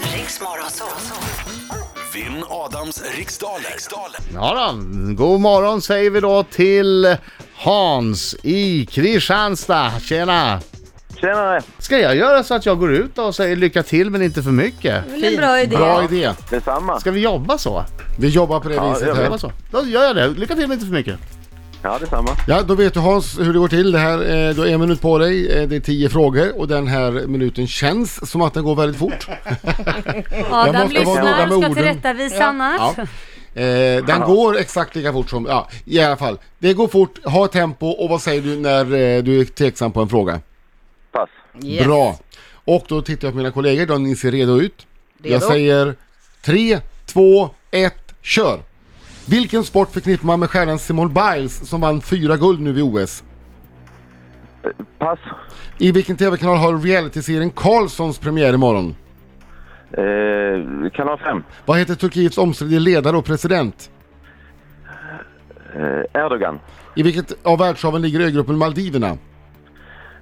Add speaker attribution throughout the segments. Speaker 1: Riks Morgonzoo.
Speaker 2: Vinn Adams riksdaler. riksdaler.
Speaker 3: Ja då, god morgon säger vi då till Hans i Kristianstad. Tjena!
Speaker 4: Tjenare!
Speaker 3: Ska jag göra så att jag går ut då och säger lycka till men inte för mycket?
Speaker 5: Det är en bra idé.
Speaker 6: Bra idé.
Speaker 4: Detsamma!
Speaker 3: Ska vi jobba så?
Speaker 6: Vi jobbar på det
Speaker 4: Ja,
Speaker 6: viset
Speaker 4: det gör
Speaker 6: här.
Speaker 3: Jobba så. Då gör jag det. Lycka till men inte för mycket.
Speaker 4: Ja, detsamma.
Speaker 6: Ja, då vet du Hans hur det går till. Det här, eh, du har en minut på dig, eh, det är tio frågor och den här minuten känns som att den går väldigt fort.
Speaker 5: Adam
Speaker 6: måste vara noga
Speaker 5: lyssnar,
Speaker 6: med
Speaker 5: ska
Speaker 6: orden.
Speaker 5: tillrättavisa annars.
Speaker 6: Eh, den går exakt lika fort som, ja i alla fall. Det går fort, ha tempo och vad säger du när eh, du är tveksam på en fråga?
Speaker 4: Pass.
Speaker 7: Yes.
Speaker 6: Bra! Och då tittar jag på mina kollegor, de ser redo ut. Jag
Speaker 7: Redo.
Speaker 6: säger 3, 2, 1, kör! Vilken sport förknippar man med stjärnan Simone Biles som vann fyra guld nu vid OS?
Speaker 4: Pass.
Speaker 6: I vilken TV-kanal har realityserien Karlssons premiär imorgon?
Speaker 4: Eh, kanal 5.
Speaker 6: Vad heter Turkiets omstridde ledare och president?
Speaker 4: Eh, Erdogan.
Speaker 6: I vilket av världshaven ligger ögruppen Maldiverna?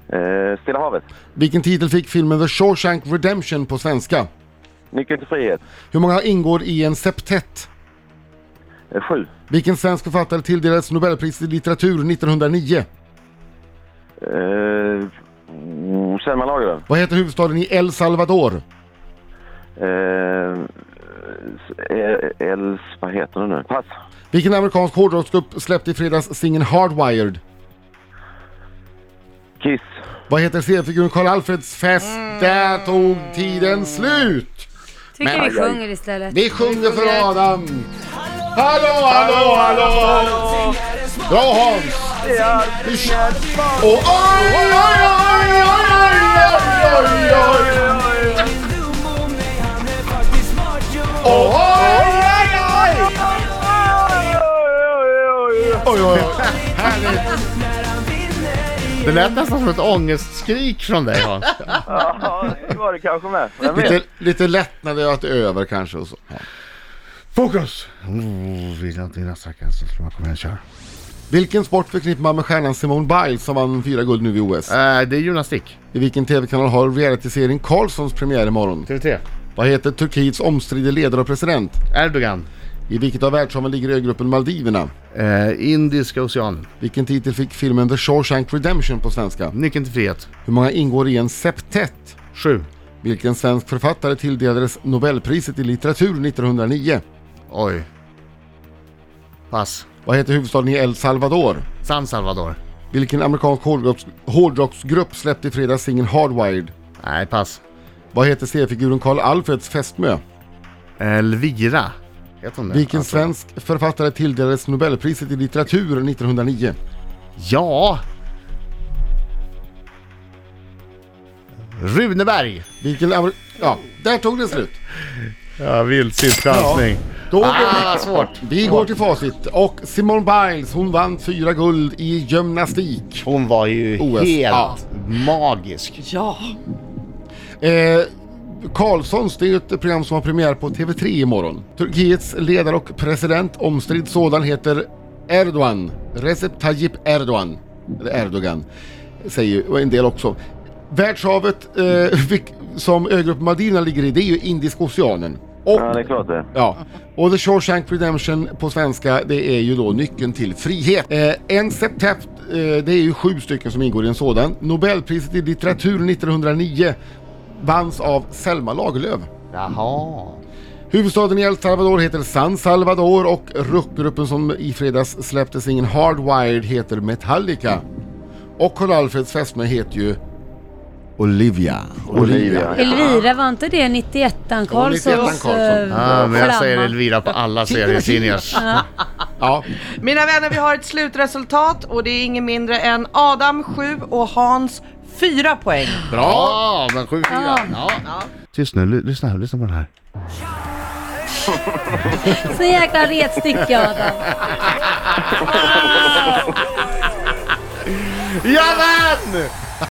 Speaker 4: Eh, Stilla havet.
Speaker 6: Vilken titel fick filmen The Shawshank Redemption på svenska?
Speaker 4: Nyckeln till frihet.
Speaker 6: Hur många ingår i en septett?
Speaker 4: Eh, 7.
Speaker 6: Vilken svensk författare tilldelades Nobelpriset i litteratur 1909?
Speaker 4: Eh, mm, Selma Lagerlöf.
Speaker 6: Vad heter huvudstaden i El Salvador?
Speaker 4: Eh, eh, Els... Vad heter den nu? Pass.
Speaker 6: Vilken amerikansk hårdrocksgrupp släppte i fredags singeln Hardwired?
Speaker 4: Kiss.
Speaker 6: Vad heter seriefiguren Karl-Alfreds fest? Där tog tiden slut!
Speaker 5: Tycker
Speaker 6: Men-
Speaker 5: vi sjunger istället.
Speaker 6: Vi sjunger för Adam! Hallå, hallå, hallå! Bra Hans! Vi kör. Och oj, oj, oj, oj, oj, oj, oj, oj! Och oj, oj, oj! Härligt!
Speaker 3: Det lät nästan som ett ångestskrik från dig Hans.
Speaker 4: Ja, det var det kanske med. Vem vet?
Speaker 6: Lite, lite lättnad över att det är över kanske och så.
Speaker 3: Fokus! Oh, vill att dina stackars så ska man komma igen kör.
Speaker 6: Vilken sport förknippar man med stjärnan Simone Biles som vann fyra guld nu vid OS?
Speaker 3: Eh, det är gymnastik.
Speaker 6: I vilken TV-kanal har realityserien Karlssons premiär imorgon?
Speaker 3: TV3.
Speaker 6: Vad heter Turkiets omstridde ledare och president?
Speaker 3: Erdogan.
Speaker 6: I vilket av världshaven ligger ögruppen Maldiverna?
Speaker 3: Eh, Indiska oceanen.
Speaker 6: Vilken titel fick filmen The Shawshank Redemption på svenska?
Speaker 3: Nyckeln till frihet.
Speaker 6: Hur många ingår i en septett?
Speaker 3: Sju.
Speaker 6: Vilken svensk författare tilldelades Nobelpriset i litteratur 1909?
Speaker 3: Oj. Pass.
Speaker 6: Vad heter huvudstaden i El Salvador?
Speaker 3: San Salvador.
Speaker 6: Vilken amerikansk hårdrocks- hårdrocksgrupp släppte i fredags singeln Hardwired?
Speaker 3: Nej, pass.
Speaker 6: Vad heter seriefiguren Karl Alfreds fästmö?
Speaker 3: Eh, Elvira. Heter hon det?
Speaker 6: Vilken
Speaker 3: Alltså,
Speaker 6: svensk författare tilldelades Nobelpriset i litteratur 1909?
Speaker 3: Ja! Runeberg!
Speaker 6: Vilken... amer- Ja, där tog det slut.
Speaker 3: Ja, vildsint chansning.
Speaker 6: Då går
Speaker 3: Ah, vad svårt.
Speaker 6: Vi går till facit och Simone Biles hon vann fyra guld i gymnastik.
Speaker 3: Hon var ju
Speaker 6: OS.
Speaker 3: helt
Speaker 6: Ja.
Speaker 3: magisk.
Speaker 7: Ja.
Speaker 6: Eh, Karlssons det är ju ett program som har premiär på TV3 imorgon. Turkiets ledare och president, omstridd sådan, heter Erdogan. Recep Tayyip Erdogan. Eller Erdogan, säger ju och en del också. Världshavet eh, vilk- som ögruppen Madina ligger i, det är ju Indiska oceanen. Och
Speaker 4: Ja, det är klart det.
Speaker 6: Ja, och The Shawshank Redemption på svenska det är ju då nyckeln till frihet. Eh, en septett, eh, det är ju sju stycken som ingår i en sådan. Nobelpriset i litteratur 1909 vanns av Selma Lagerlöf.
Speaker 3: Jaha.
Speaker 6: Huvudstaden i El Salvador heter San Salvador och rockgruppen som i fredags släppte singeln Hardwired heter Metallica. Och Carl Alfreds fästmö heter ju Olivia.
Speaker 4: Olivia.
Speaker 5: Elvira, var inte det 91
Speaker 6: Ja, 91:an
Speaker 5: Karlssons
Speaker 6: Karlsson.
Speaker 5: eh,
Speaker 3: Ah, men jag säger
Speaker 5: flamma?
Speaker 3: Elvira på alla serietidningar.
Speaker 6: Ja,
Speaker 7: Mina vänner, vi har ett slutresultat och det är ingen mindre än Adam 7 och Hans 4 poäng.
Speaker 6: bra!
Speaker 3: Ja, men sju fyra. Ja. Tyst nu, ly- lyssna här, lyssna på den här.
Speaker 5: Så jäkla retstickig Adam.
Speaker 3: Jag vann!